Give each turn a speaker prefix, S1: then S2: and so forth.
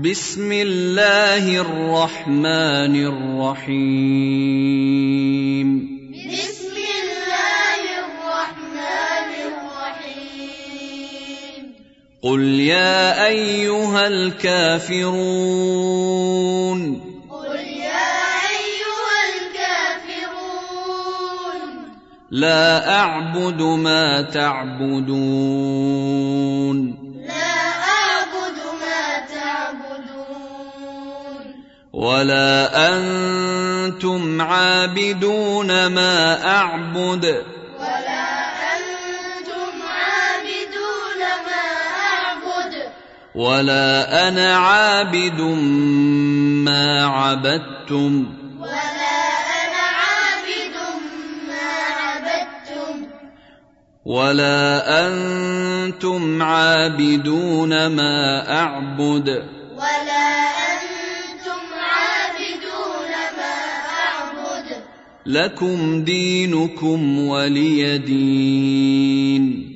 S1: بسم الله الرحمن الرحيم
S2: بسم الله الرحمن الرحيم
S1: قل يا ايها الكافرون
S2: قل يا أيها الكافرون
S1: لا اعبد ما تعبدون
S2: لا أعبد ما تعبدون
S1: ولا انتم عابدون ما اعبد
S2: ولا أنتم عابدون ما أعبد
S1: ولا انا عابد ما عبدتم
S2: ولا أنا عابد ما عبدتم
S1: ولا انتم عابدون ما اعبد
S2: ولا أنتم عابدون ما أعبد
S1: لكم دينكم ولي دين